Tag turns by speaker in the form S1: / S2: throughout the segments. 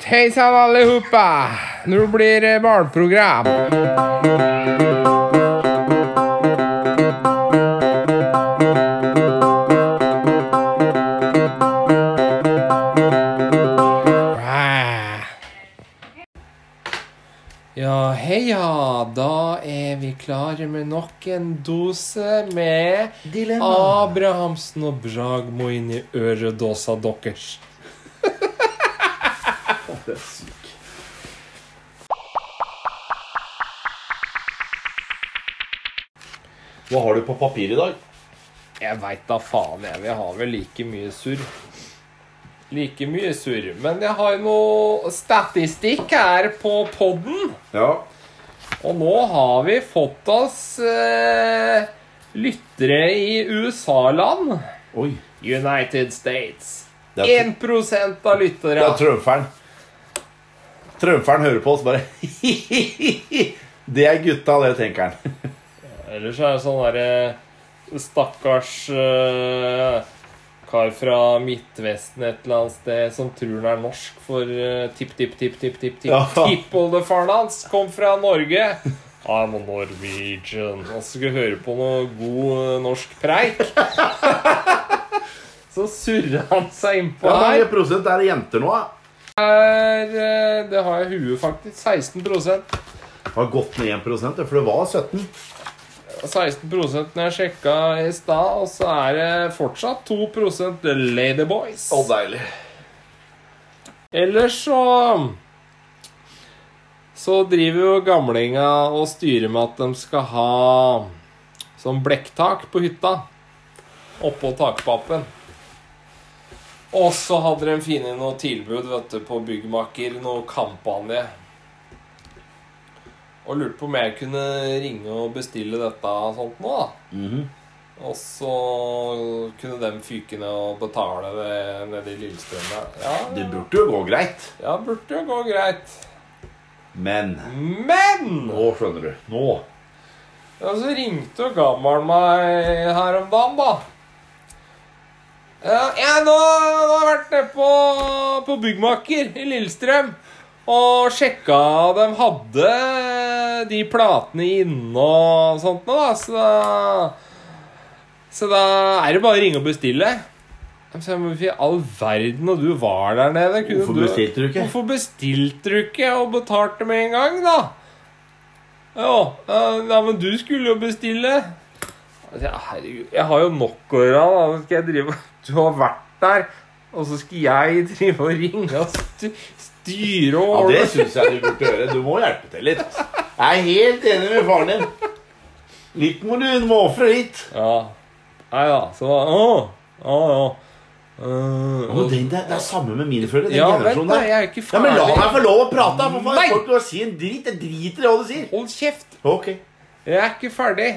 S1: Hei sann, alle hoppa! Nå blir det barneprogram. Ah. Ja, heia! Da er vi klare med nok en dose med
S2: Dilemma.
S1: Abrahamsen og Bragmo inn i øredåsa deres.
S2: Hva har du på papir i dag?
S1: Jeg veit da faen, jeg. Vi har vel like mye surr. Like mye surr. Men jeg har jo noe statistikk her på podden.
S2: Ja.
S1: Og nå har vi fått oss eh, lyttere i USA-land.
S2: Oi.
S1: United States.
S2: Det er,
S1: 1 av
S2: det
S1: lyttere.
S2: er trømferen. Trømferen hører på oss bare Det er gutta, det, tenker han.
S1: Ellers er det sånn derre stakkars eh, kar fra Midtvesten et eller annet sted som tror han er norsk, for eh,
S2: Ja.
S1: tipp-tipp-tipp-tipp-tipp-tippoldefaren hans kom fra Norge. I'm a Norwegian. Og så skulle høre på noe god eh, norsk preik. Så surra han seg innpå
S2: Hvor
S1: her.
S2: mange prosent er det jenter nå? da?
S1: Er, eh, det har jeg i huet, faktisk. 16
S2: Har gått ned 1 det, for det var 17.
S1: 16 når jeg sjekka i stad, og så er det fortsatt 2 Ladyboys.
S2: deilig.
S1: Ellers så Så driver jo gamlinga og styrer med at de skal ha sånn blekktak på hytta. Oppå takpappen. Og så hadde de funnet noe tilbud vet du, på byggmaker, noe kampanje. Og lurte på om jeg kunne ringe og bestille dette og sånt nå, da.
S2: Mhm.
S1: Og så kunne de fyke ned og betale det nede i Lillestrøm der. Ja,
S2: Det burde jo gå greit,
S1: ja, burde jo gå greit.
S2: men
S1: Men!
S2: Nå skjønner du. Nå.
S1: Ja, så ringte jo gammelen meg her om dagen, da. Ja, ja nå, nå har jeg vært nede på, på Byggmaker i Lillestrøm og sjekka de hadde de platene inne og sånt nå, da. Så da, så da er det bare å ringe og bestille. Så jeg, Hvorfor i all verden, og du var der nede kunne
S2: Hvorfor
S1: du-
S2: bestilte du ikke?
S1: Hvorfor bestilte du ikke og betalte med en gang, da? Ja, eh, nei, men du skulle jo bestille. Altså, ja, herregud, jeg har jo nok å gjøre. da. Nå Skal jeg drive Du har vært der, og så skal jeg drive og ringe og st- styre og
S2: Ja,
S1: ordne
S2: Det syns jeg du burde gjøre. Du må hjelpe til litt. Jeg er helt enig med faren din. Litt må du du må ofre litt.
S1: Ja. Nei da, så Å, å, ja. Eh,
S2: Ja, men den der, det er samme med mine foreldre. Den
S1: ja, vent,
S2: generasjonen
S1: da.
S2: der.
S1: Jeg er ikke
S2: Ja, men
S1: ferdig.
S2: La meg få lov å prate! For faen,
S1: Nei!
S2: folk må si en drit. Jeg driter i hva du sier.
S1: Hold kjeft!
S2: Ok.
S1: Jeg er ikke ferdig.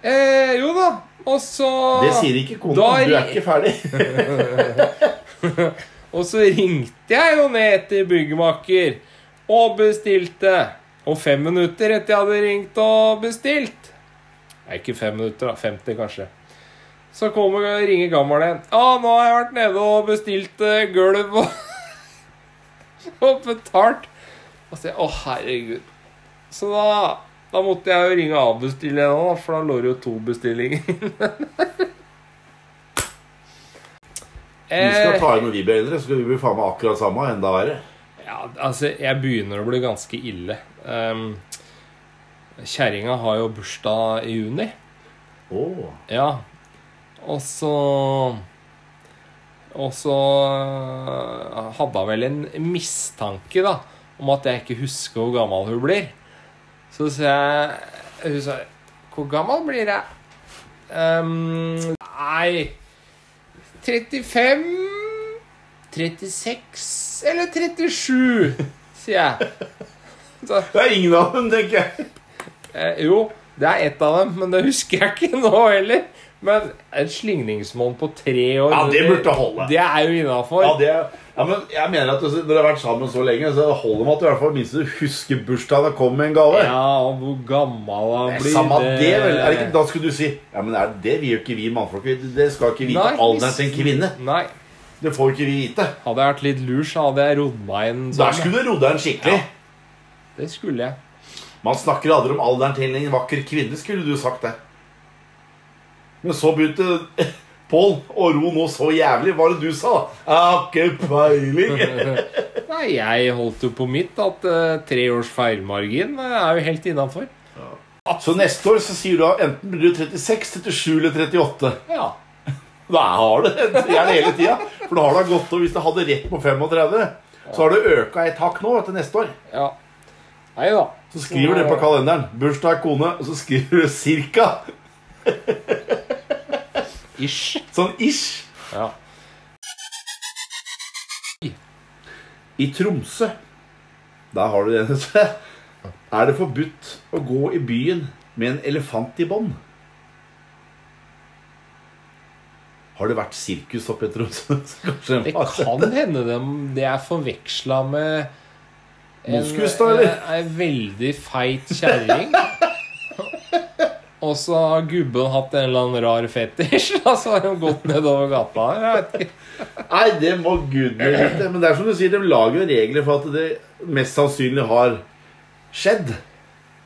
S1: Eh, jo da, og så
S2: Det sier ikke kona.
S1: Da er-
S2: Du er ikke ferdig.
S1: Og så ringte jeg jo ned til byggmaker og bestilte. Og fem minutter etter jeg hadde ringt og bestilt Nei, ikke fem minutter, da. 50, kanskje. Så kommer ringer gammel igjen. 'Å, nå har jeg vært nede og bestilt eh, gulv og, og betalt.' Og så sier jeg 'Å, herregud'. Så da, da måtte jeg jo ringe og avbestille igjen, da, for da lå det jo to bestillinger.
S2: Vi
S1: Eh,
S2: skal ta igjen når vi blir eldre, så skal vi bli faen meg akkurat samme. Enda verre.
S1: Ja, altså, jeg begynner å bli ganske ille. Um, Kjerringa har jo bursdag i juni.
S2: Åh.
S1: Ja. Og så Og så øh, hadde hun vel en mistanke, da, om at jeg ikke husker hvor gammel hun blir. Så sier jeg Hun sa Hvor gammel blir jeg? «Ehm, nei 35 36 eller 37, sier jeg. Så,
S2: Det er ingen av dem, tenker jeg.
S1: Eh, jo, det er ett av dem, men det husker jeg ikke nå heller. Men en slingringsmonn på tre år
S2: Ja, det burde holde.
S1: Det er jo innafor.
S2: Ja, det, ja, men jeg mener at Når dere har vært sammen så lenge, så holder det med at du i hvert fall minst husker bursdagen og kommer med en gave.
S1: og hvor gammel han blir
S2: Samme det, vel. Er det ikke, da skulle du si Ja, men er det, det vil jo ikke vi mannfolk vite. Det skal ikke vite
S1: Nei,
S2: alderen til en
S1: hvis-
S2: kvinne.
S1: Nei.
S2: Det får ikke vite.
S1: Hadde jeg vært litt lur, så hadde jeg rodd meg inn
S2: Der
S1: sånn.
S2: skulle du rodd deg en skikkelig.
S1: Det skulle jeg.
S2: Man snakker aldri om alderen til en vakker kvinne, skulle du sagt det. Men så begynte Pål å ro nå så jævlig. Hva var det du sa? Har ikke peiling.
S1: Nei, jeg holdt jo på mitt at eh, tre års feilmargin eh, er jo helt innafor.
S2: Så neste år så sier du at enten blir du 36, 37 eller 38.
S1: Ja.
S2: Da har du det gjerne hele tida. For da har det gått over. Hvis du hadde rett på 35, så har du øka et hakk nå til neste år.
S1: ja. Nei da.
S2: Så skriver du det på kalenderen. Bursdag, kone. Og så skriver du cirka.
S1: Ish.
S2: Sånn ish.
S1: Ja.
S2: I Tromsø Der har du det. Er det forbudt å gå i byen med en elefant i bånd? Har det vært sirkus oppe i Tromsø? Kanskje
S1: Det
S2: de har
S1: kan hende de, det er forveksla med
S2: Moskus, da, eller?
S1: en- en veldig feit kjerring. Og så har gubben hatt en eller annen rar fetisj, og så har de gått nedover gata. Jeg vet ikke.
S2: Nei, det må gudene vite. Men det er som du sier, de lager jo regler for at det mest sannsynlig har skjedd.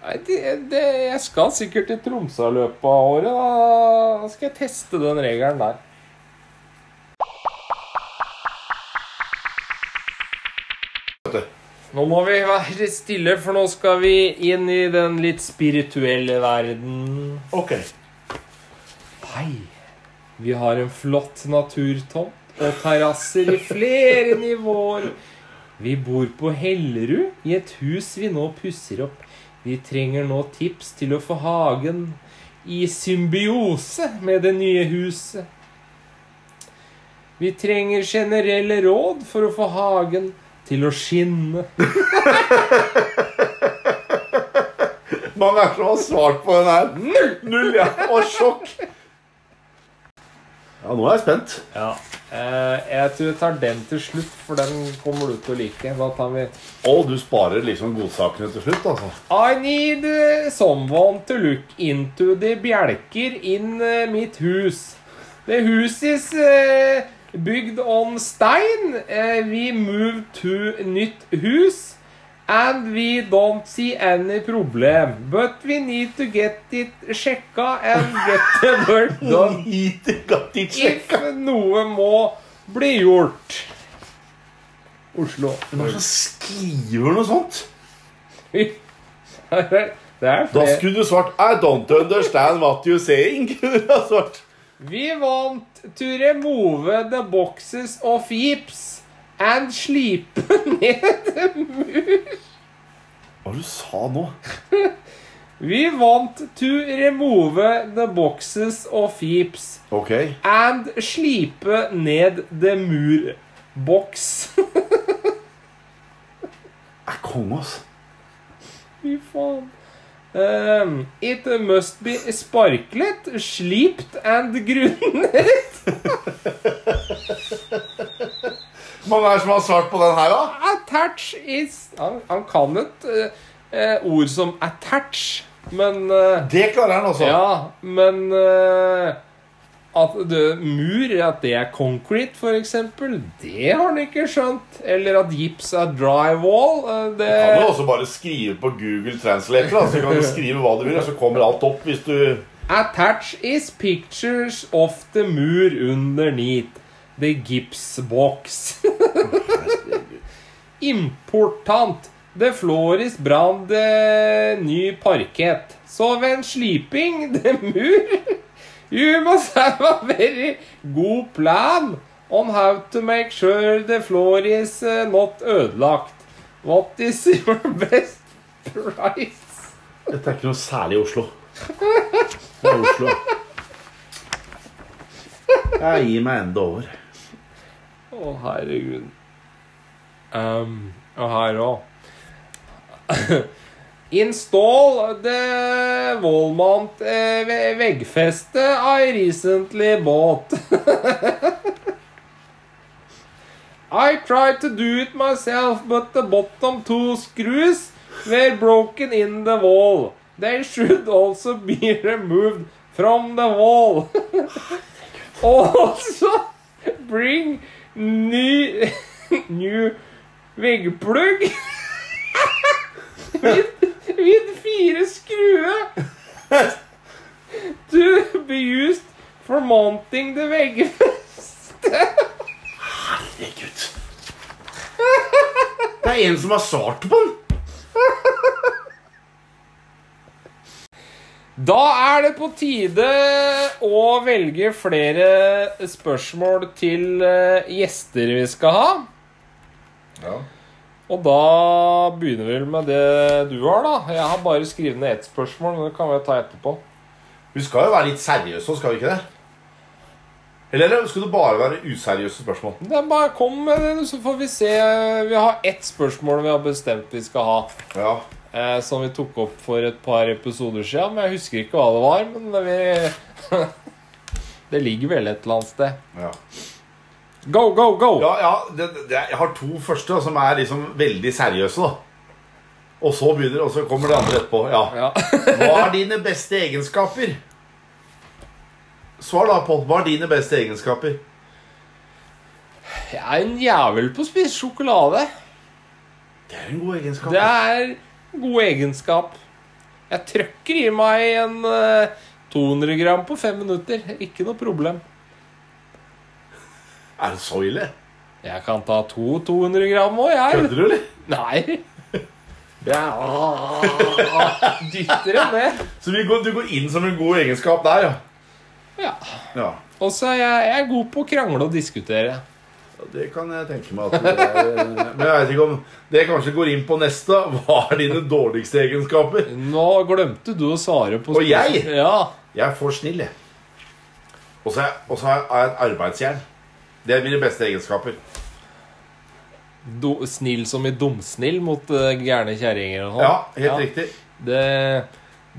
S1: Nei, det, det, jeg skal sikkert til Tromsø i løpet av året. Da Da skal jeg teste den regelen der. Nå må vi være stille, for nå skal vi inn i den litt spirituelle verden.
S2: Ok.
S1: Nei. Vi har en flott naturtomt og terrasser i flere nivåer. Vi bor på Hellerud i et hus vi nå pusser opp. Vi trenger nå tips til å få hagen i symbiose med det nye huset. Vi trenger generelle råd for å få hagen til å skinne.
S2: Mange er som har svart på den her. Null! Null, ja. Og sjokk. Ja, nå er jeg spent.
S1: Ja. Eh, jeg tror jeg tar den til slutt, for den kommer du til å like. Da tar vi
S2: Å, du sparer liksom godsakene til slutt, altså.
S1: I need eh, someone to look into the bjelker in eh, mitt hus. The house is eh, bygged on stein. Eh, we move to nytt hus. And we don't see any problem. But we need to get it sjekka and get the work done.
S2: Hit i gattit
S1: If noe må bli gjort. Oslo.
S2: Hvem er det som skriver noe sånt?
S1: Det er
S2: Da
S1: flere.
S2: skulle du svart I don't understand what you're saying. Kunne du ha svart.
S1: We want to remove the boxes of hips and slipe ned mur.
S2: Hva var det du sa nå?
S1: We want to remove the boxes of hips
S2: Ok.
S1: and slipe ned the mur. Boks.
S2: Er konge, altså.
S1: Fy faen. Um, it must be sparklet, slipt and grunnet.
S2: Mange er det som har svart på den her, da?
S1: Attach is Han, han kan et eh, eh, ord som attach, men eh,
S2: Det klarer han også.
S1: Ja, men eh, At det, mur, at det er concrete, for eksempel, det har han ikke skjønt. Eller at gips er drywall. eh, det,
S2: Kan du også bare skrive på Google Translator, da, så kan du skrive hva du vil, og så kommer alt opp hvis du
S1: attach is pictures of the mur underneath. The gips box. Important. The floor is brand eh, ny parkett. Så ved en sliping, the mur You must have a very god plan on how to make sure the floor is eh, not ødelagt. What is your best price?
S2: Dette er ikke noe særlig i Oslo. Det er Oslo. Jeg gir meg enda over.
S1: Å, herregud. Ehm, og her òg. Install the wallmount eh, ve- veggfeste I recently bought. I tried to do it myself, but the bottom two screws were broken in the wall. They should also be removed from the wall. also, bring ny New veggplugg. Vid, vid fire skrue. To be used for mounting the veggfeste.
S2: Herregud. Det er en som har svart på den.
S1: Da er det på tide å velge flere spørsmål til eh, gjester vi skal ha.
S2: Ja.
S1: Og da begynner vi vel med det du har, da. Jeg har bare skrevet ned ett spørsmål, men det kan vi ta etterpå.
S2: Vi skal jo være litt seriøse òg, skal vi ikke det? Eller skal det bare være useriøse spørsmål?
S1: Det er bare Kom med det, så får vi se. Vi har ett spørsmål vi har bestemt vi skal ha.
S2: Ja.
S1: Eh, som vi tok opp for et par episoder siden. Men jeg husker ikke hva det var. Men det, vi det ligger vel et eller annet sted.
S2: Ja,
S1: Go, go, go!
S2: ja, ja det, det, jeg har to første som er liksom veldig seriøse, da. Og så begynner, og så kommer det andre etterpå. Ja.
S1: Ja.
S2: Hva er dine beste egenskaper? Svar da, Pål. Hva er dine beste egenskaper?
S1: Jeg er en jævel på å spise sjokolade.
S2: Det er en god egenskap.
S1: Det er god egenskap. Jeg trøkker i meg en eh, 200 gram på fem minutter. Ikke noe problem.
S2: Er det så ille?
S1: Jeg kan ta to 200 gram òg, jeg.
S2: Kødder du, eller?
S1: Nei. Jeg dytter en ned.
S2: Så vi går, du går inn som en god egenskap der, ja.
S1: Ja.
S2: ja.
S1: Og så er jeg, jeg er god på å krangle og diskutere.
S2: Ja, Det kan jeg tenke meg at det er, Men jeg vet ikke om det kanskje går inn på neste. Hva er dine dårligste egenskaper?
S1: Nå glemte du å svare på
S2: Og jeg?
S1: Ja.
S2: Jeg er for snill, jeg. Og så er og så er jeg et arbeidsjern. Det er mine beste egenskaper.
S1: Do, snill som i dumsnill mot eh, gærne kjerringer og sånn.
S2: Ja, helt riktig.
S1: Det,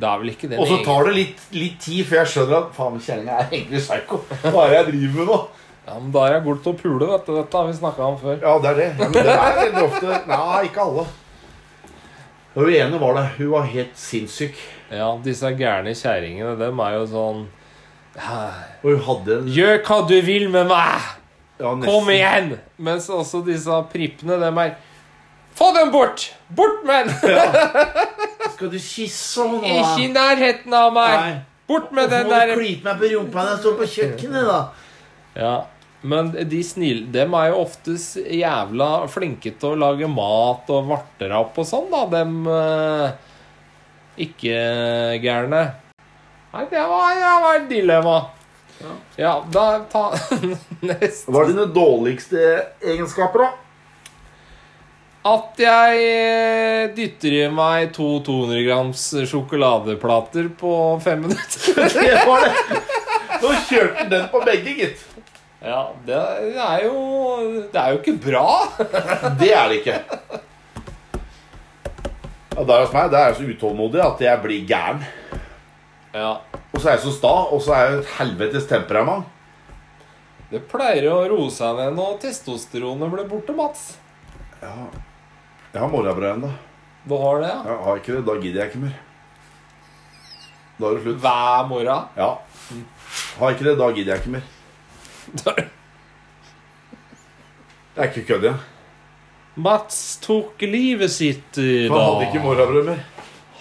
S1: det er vel ikke det
S2: Og så tar det litt, litt tid før jeg skjønner at faen, kjerringa er egentlig psyko. Hva er det jeg driver med nå?
S1: Ja, men Da er jeg god til å pule, vet du. Dette har vi snakka om før.
S2: Ja, det er det. Ja, men det er veldig ofte Nei, ikke alle. Hun ene var det. Hun var helt sinnssyk.
S1: Ja, disse gærne kjerringene, dem er jo sånn
S2: Og hun hadde en
S1: Gjør hva du vil med meg!
S2: ja, nesten-
S1: Kom igjen! Mens også disse prippene, dem er Få dem bort! Bort med den!
S2: Skal du kysse henne nå?
S1: Ikke i nærheten av meg!
S2: Nei.
S1: Bort med den
S2: Hvorfor må
S1: der
S2: du klype meg på rumpa når jeg står på kjøkkenet, da?
S1: Ja, men de snille Dem er jo oftest jævla flinke til å lage mat og varter opp og sånn, da. Dem eh, ikke-gærne. Nei, det var, det var et dilemma.
S2: Ja.
S1: Ja, da ta neste.
S2: Hva er dine dårligste egenskaper, da?
S1: At jeg eh, dytter i meg to 200 grams sjokoladeplater på fem minutter.
S2: Det var det. Nå kjørte han den på begge, gitt.
S1: Ja, det er jo Det er jo ikke bra.
S2: Det er det ikke. Ja, der hos meg, der er jeg så utålmodig at jeg blir gæren.
S1: Ja.
S2: Og så er jeg så sta, og så er jeg et helvetes temperament.
S1: Det pleier å roe seg ned når testosteronet blir borte, Mats.
S2: Jeg har morrabrød ennå.
S1: Du har det, ja?
S2: Jeg har ikke det, da gidder jeg ikke mer. Da er det slutt.
S1: Hver morgen?
S2: Ja. Har ikke det, da gidder jeg ikke mer. Det er ikke kødd, ja.
S1: Mats tok livet sitt i
S2: Han hadde ikke
S1: dag.
S2: morrabrød mer.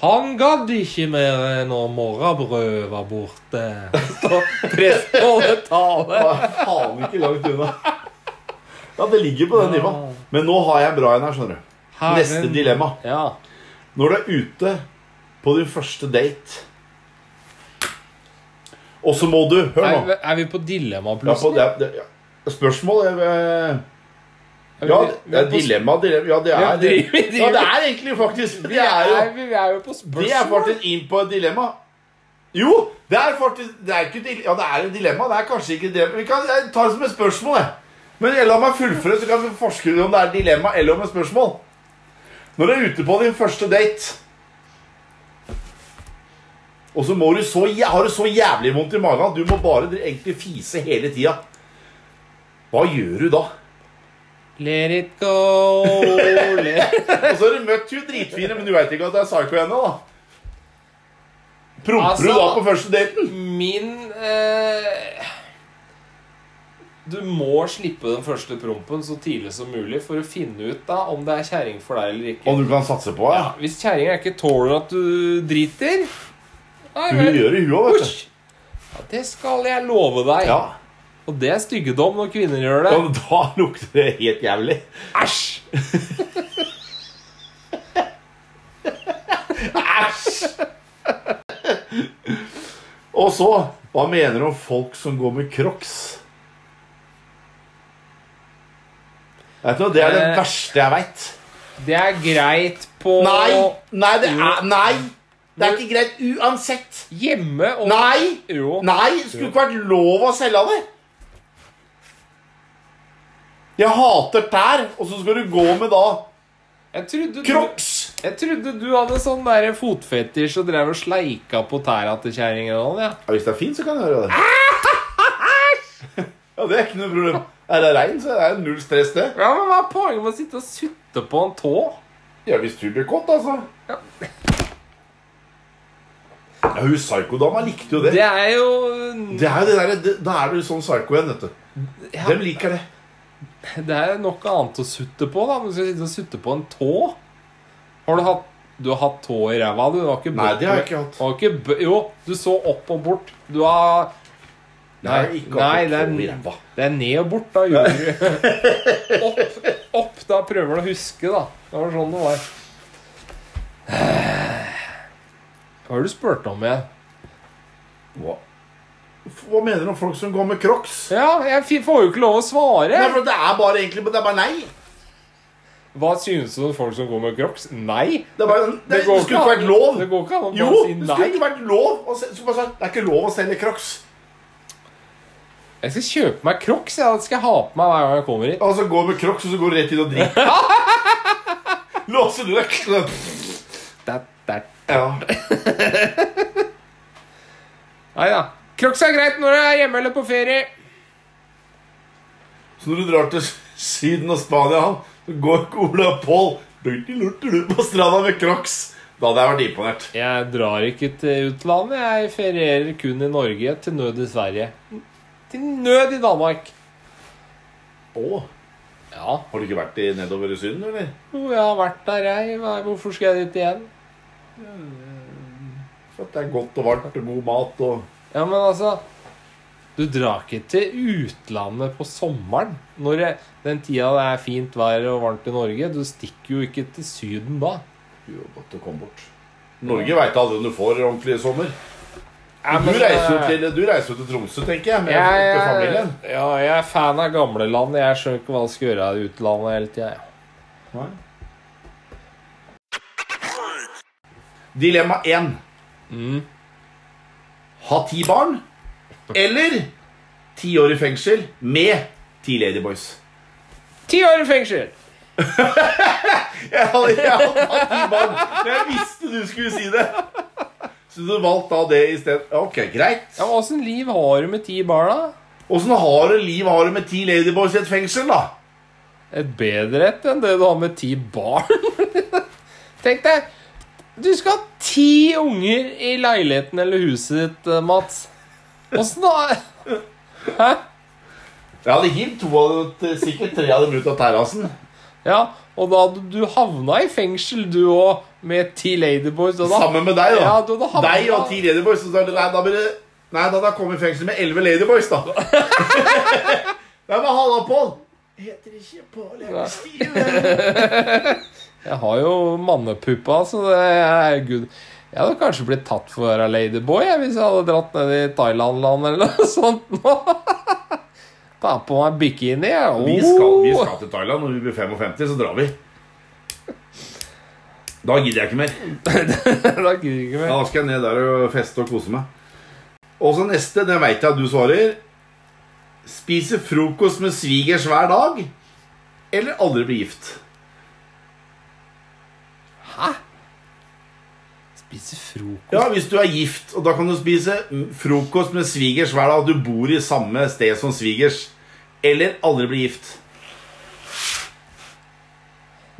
S1: Han gadd ikke mer når morgenbrødet var borte. Så Prest holder tale.
S2: Det er faen ikke langt unna. Ja, det ligger på det nivået. Men nå har jeg en bra en her, skjønner du.
S1: Herren-
S2: Neste dilemma.
S1: Ja.
S2: Når du er ute på din første date, og så må du Hør
S1: Er,
S2: nå.
S1: vi- er vi på dilemma
S2: Ja, på,
S1: plutselig?
S2: det, det, ja. Spørsmål er, eh,
S1: Er vi-
S2: Ja,
S1: vi
S2: det
S1: er
S2: er
S1: på-
S2: dilemma, dilemma Ja, det er,
S1: Vi driver- vi
S2: ja, det er egentlig faktisk
S1: Vi
S2: Det
S1: er
S2: er jo
S1: jo, vi er jo på spørsmål.
S2: Det er faktisk inn på et dilemma. Jo, det er faktisk Det er ikke et dile- Ja, det er et dilemma. Det er kanskje ikke et dilemma. Vi kan jeg tar det som et spørsmål, jeg. Men jeg la meg fullføre, så kan vi forske om det er et dilemma eller om et spørsmål. Når du er ute på din første date og så må du så, jæ- har du så jævlig vondt i magen at du må bare dri- egentlig fise hele tida. Hva gjør du da?
S1: Let it go. Let...
S2: Og så har du møtt hun dritfine, men du veit ikke at det er psycho ennå, da. Promper
S1: Altså-
S2: du da på første daten?
S1: Min eh, Du må slippe den første prompen så tidlig som mulig for å finne ut da om det er kjerring for deg eller ikke.
S2: Og du kan satse på
S1: Ja,
S2: ja.
S1: hvis kjerringa ikke tåler at du driter Nei
S2: Hun
S1: vel.
S2: gjør det, hun òg, vet du.
S1: Husj! Ja, det skal jeg love deg.
S2: Ja.
S1: Og det er styggedom når kvinner gjør det.
S2: Og da lukter det helt jævlig.
S1: Æsj!
S2: Og så Hva mener du om folk som går med crocs? Vet du, hva, det er det
S1: Eh.
S2: verste jeg veit.
S1: Det er greit på
S2: Nei! Nei, det er Nei! Det er ikke greit uansett.
S1: hjemme og
S2: Nei!
S1: Jo.
S2: Nei, det skulle ikke vært lov å selge det. Jeg hater tær, og så skal du gå med da
S1: Jeg trodde du,
S2: crocs!
S1: jeg trodde du hadde sånn der fotfetisj og drev og sleika på tæra til kjerringa. og sånn, Ja.
S2: Ja, hvis det er fint, så kan jeg gjøre det. Ja, det er ikke noe problem. Er det regn, så er det null stress, det.
S1: ja, men hva er poenget med å sitte og sutte på en tå?
S2: Ja, hvis du blir kåt, altså.
S1: Ja.
S2: Ja, hun psykodama likte jo det.
S1: Det er jo
S2: Det er jo det der, det, Da er du sånn psyko igjen, vet du.
S1: ja,
S2: Dem liker det.
S1: Det er noe annet å sutte på, da. Men du skal sitte og sutte på en tå. Har du hatt du har hatt tå i ræva, du. du har ikke
S2: Nei,
S1: bøtt
S2: det har
S1: med-
S2: jeg ikke hatt.
S1: du har ikke bø jo, du så opp og bort. Du har Nei,
S2: Jeg har ikke hatt
S1: nei det,
S2: noe tå i
S1: er,
S2: ræva.
S1: det er ned og bort, da. Gjorde du. opp, opp, da prøver du å huske, da. Det var sånn det var. Hva har du spurt om igjen?
S2: Hva? Hva mener du om folk som går med crocs?
S1: Ja, jeg fi- får jo ikke lov å svare.
S2: Nei, for det er bare egentlig Det er bare nei.
S1: Hva synes du om folk som går med crocs? Nei.
S2: Det, er bare, det, det,
S1: går
S2: skulle
S1: ikke
S2: ikke
S1: an-
S2: vært lov.
S1: Det går ikke an å
S2: Jo,
S1: bare si
S2: det skulle
S1: nei.
S2: ikke vært lov. Å se, skulle bare sagt, det er ikke lov å selge crocs.
S1: Jeg skal kjøpe meg crocs. Ja. Det skal jeg ha på meg hver gang jeg kommer hit.
S2: Og så går du Altså, med crocs, og så går du rett inn og drikker. Låser du deg?
S1: Da, da.
S2: Ja.
S1: Nei da. Crocs er greit når du er hjemme eller på ferie.
S2: Så når du drar til Syden og Spania, han, så går ikke Ola og Pål dultilurtulu på stranda med crocs. Da hadde jeg vært imponert.
S1: Jeg drar ikke til utlandet. Jeg ferierer kun i Norge. Til nød i Sverige. Til nød i Danmark.
S2: Å,
S1: Ja.
S2: har du ikke vært i nedover i Syden, eller?
S1: Jo, jeg har vært der, jeg. Hva- Hvorfor skal jeg dit igjen?
S2: For at det er godt og varmt og god mat og
S1: Ja, men altså Du drar ikke til utlandet på sommeren. Når det, den tida det er fint vær og varmt i Norge. Du stikker jo ikke til Syden da.
S2: Jo, godt å komme bort. Norge veit aldri om du får ordentlig sommer. Du
S1: men,
S2: reiser jo
S1: eh,
S2: til, du reiser jo til Tromsø, tenker jeg, med
S1: Jeg,
S2: til familien.
S1: ja, jeg er fan av gamleland. Jeg skjønner ikke hva jeg skal gjøre i utlandet hele tida.
S2: Dilemma én. Ha ti barn eller ti år i fengsel med ti Ladyboys.
S1: Ti år i fengsel!
S2: Jeg hadde, jeg hadde hatt ti barn. Jeg visste du skulle si det. Så du valgte da det isteden. Ok, greit.
S1: Ja, men Åssen liv har du med ti barn, da?
S2: Åssen har du liv har du med ti Ladyboys i et fengsel, da?
S1: Et bedre et enn det du har med ti barn. Tenk deg Du skal ha ti unger i leiligheten eller huset ditt, eh, Mats. Åssen da? Hæ?
S2: Jeg hadde hivd to av dem, sikkert tre av dem ut av terrassen.
S1: Ja, og da hadde du havna i fengsel, du òg, med ti Ladyboys. og da-
S2: Sammen med deg, da.
S1: Ja, du hadde havnet-
S2: deg og ti Ladyboys. Så sa du, nei, da blir det Nei, da hadde jeg kommet i fengsel med elleve Ladyboys, da. nei, men halla, Pål. Heter ikke Pål, jeg
S1: Nei.
S2: er Stine.
S1: Jeg har jo mannepuppa, så det er good. Jeg hadde kanskje blitt tatt for å være ladyboy jeg, hvis jeg hadde dratt ned i Thailand-land eller noe sånt. nå. Ta på meg bikini. jeg. Oh.
S2: Vi skal, vi skal til Thailand. Når vi blir 55, så drar vi. Da gidder jeg ikke mer.
S1: da gidder jeg ikke
S2: Ja,
S1: mer.
S2: da skal jeg ned der og feste og kose meg. Og så neste, det veit jeg at du svarer. Spise frokost med svigers hver dag, eller aldri bli gift?
S1: Spise frokost
S2: Ja, hvis du er gift, og da kan du spise mm, frokost med svigers hver dag, og du bor i samme sted som svigers, eller aldri bli gift.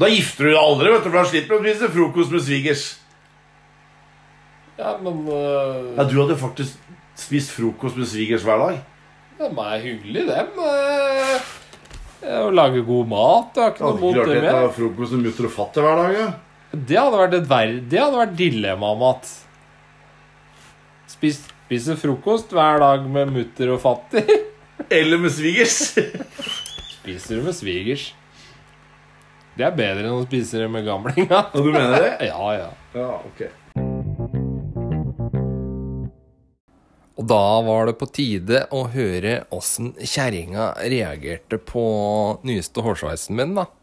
S2: Da gifter du deg aldri, vet du, for da slipper du å spise frokost med svigers.
S1: Ja, men øh,
S2: Ja, du hadde faktisk spist frokost med svigers hver dag.
S1: De er hyggelige, dem. øh, Eh, Å lage god mat. Det har ikke noe
S2: Hadde ikke
S1: mot
S2: klart
S1: det
S2: det
S1: med.
S2: å ha frokost med mutter og fatter hver dag. Ja.
S1: Det hadde vært, et ver det hadde vært dilemma, Mats. Spis, spise frokost hver dag med mutter og fatter.
S2: Eller med svigers.
S1: Spiser du med svigers? Det er bedre enn å spise det med gamlinga.
S2: Og du mener det?
S1: Ja, ja.
S2: Ja, ok.
S1: Og da var det på tide å høre åssen kjerringa reagerte på nyeste hårsveisen min, da.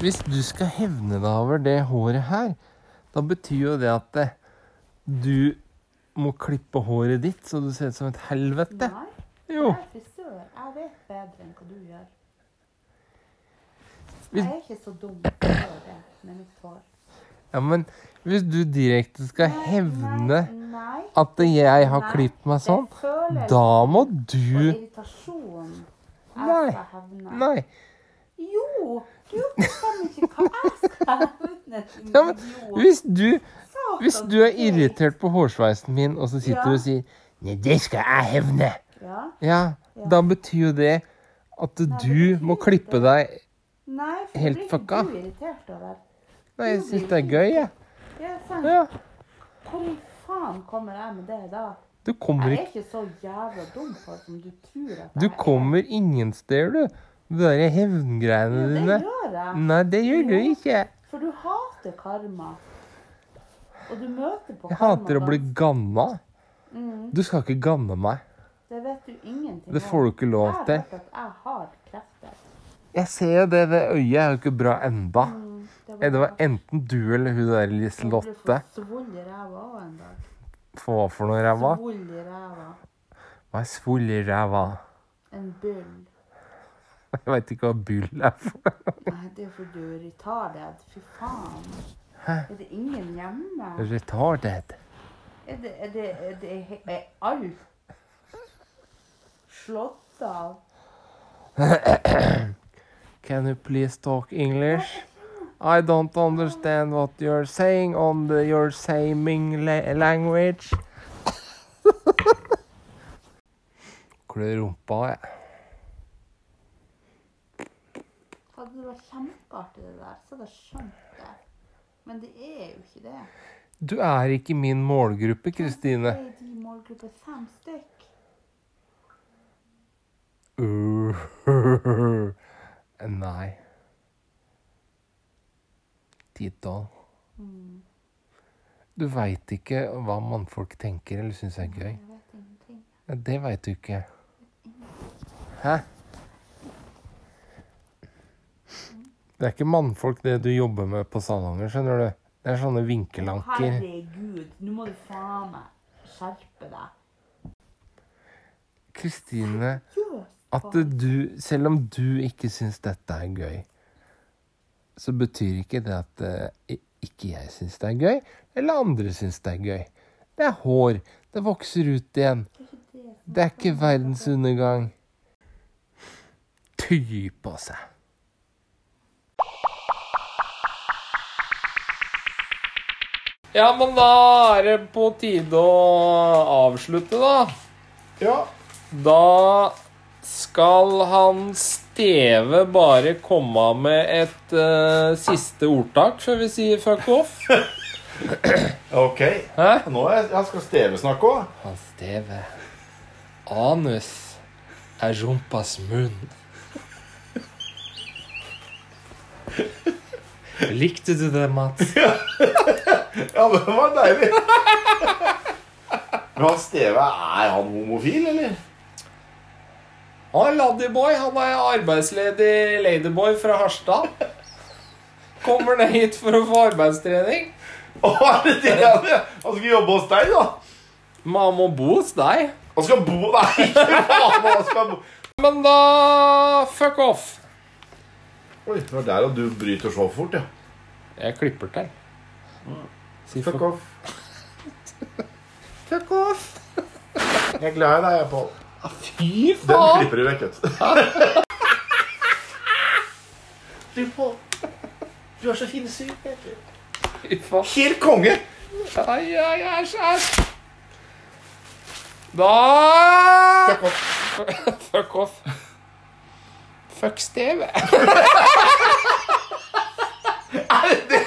S1: Hvis du skal hevne deg over det håret her, da betyr jo det at eh, du må klippe håret ditt så du ser ut som et helvete.
S3: Nei,
S1: Jo.
S3: jeg er frisør. Jeg vet bedre enn hva du gjør.
S1: Hvis-
S3: Jeg er ikke så dum som jeg gjør det med mitt hår.
S1: Ja, men hvis du direkte skal
S3: Nei,
S1: hevne
S3: Nei.
S1: at jeg har
S3: nei,
S1: klippet meg sånn,
S3: Det føles
S1: da må
S3: på
S1: du
S3: irritasjon.
S1: Nei,
S3: Jeg skal hevne.
S1: Nei.
S3: Jo, du bestemmer ikke hva jeg skal hevne. din
S1: Ja, men
S3: idiot.
S1: Hvis du,
S3: Satan,
S1: hvis du er
S3: ok.
S1: irritert på hårsveisen min, og så sitter du og sier Nei, det skal jeg hevne.
S3: Ja.
S1: Ja, da betyr jo det at du
S3: det
S1: må
S3: betyr
S1: klippe
S3: det.
S1: deg
S3: Nei, for
S1: Helt
S3: det blir
S1: fucka.
S3: ikke du irritert over.
S1: Nei, jeg syns det er gøy, jeg.
S3: Ja, sant.
S1: Ja.
S3: Hvor i faen kommer jeg med det da?
S1: Du kommer
S3: Jeg er
S1: ikke
S3: ikke så jævla dum for som du tror at
S1: Du
S3: jeg
S1: kommer ingen steder, du. De derre hevngreiene
S3: er.
S1: dine.
S3: Det gjør jeg.
S1: Nei, det gjør du ikke.
S3: For du hater karma. Og du møter på
S1: Jeg
S3: karma.
S1: hater å bli
S3: da.
S1: ganna.
S3: Mm,
S1: Du skal ikke ganne meg.
S3: Det vet du ingenting
S1: Det får du ikke lov til.
S3: Jeg vet at jeg har krefter.
S1: Jeg ser jo det ved øyet. Jeg er jo ikke bra enda.
S3: Mm,
S1: Eh, Det var enten du eller hun der Liselotte.
S3: Svoll i ræva òg en dag.
S1: Hva for noe ræva?
S3: Svoll i ræva.
S1: Hva er svull i ræva?
S3: En byll.
S1: Jeg veit ikke hva byll er for noe.
S3: Nei, det er fordi du er retarded. Fy faen. Er det ingen hjemme?
S1: Retarded.
S3: Er det, er det, er det he- er alt slått av?
S1: Can you please talk English? I don't understand what you're saying on the, your saming la language. Klør rumpa, jeg.
S3: Hadde det vært kjempeartig det der, så hadde jeg skjønt det. Men det er jo ikke det.
S1: Du er ikke min målgruppe, Kristine.
S3: Det er de målgruppe fem stykk.
S1: Uh, Nei. Titall. Du veit ikke hva mannfolk tenker eller syns er gøy.
S3: Jeg vet ingenting.
S1: Ja, det veit du ikke. Hæ? Det er ikke mannfolk det du jobber med på Salanger, skjønner du. Det er sånne vinkelanker.
S3: Herregud, nå må du faen meg skjerpe deg.
S1: Kristine,
S3: Jøss.
S1: at du Selv om du ikke syns dette er gøy, så betyr ikke det at eh, ikke jeg syns det er gøy, eller andre syns det er gøy. Det er hår. Det vokser ut igjen.
S3: Det er ikke det som
S1: Det er ikke verdens undergang. Ty på seg. Ja, men da er det på tide å avslutte, da.
S2: Ja.
S1: Da skal han Steve bare komme med et eh, siste ordtak før vi sier fuck off.
S2: Ok.
S1: Hæ?
S2: Nå er jeg, jeg skal Steve snakke òg.
S1: Han Steve. Anus er rumpas munn. Likte du det, Mats?
S2: Ja, det var deilig. Men han Steve, er han homofil, eller?
S1: Han er ladyboy. Han er arbeidsledig ladyboy fra Harstad. Kommer ned hit for å få arbeidstrening.
S2: Å, er det det han er? Han skal jobbe hos deg, da?
S1: Men han må bo hos deg.
S2: Han skal bo Nei, ikke faen! Han skal bo
S1: Men da fuck off.
S2: Oi, det var der at du bryter så fort, ja.
S1: Jeg klipper til. Si
S2: Fuck off.
S1: Fuck off.
S2: Jeg er glad i deg, jeg, Pål.
S1: Fy
S2: Den
S1: faen.
S2: klipper du vekk, vet du. Du, Pål. Du er så finsyk, vet du.
S1: Fy faen.
S2: Helt konge!
S1: Ai, ai, æsj, æsj. Da
S2: Fuck off.
S1: Fuck off. Fuck Steve.
S2: Er det det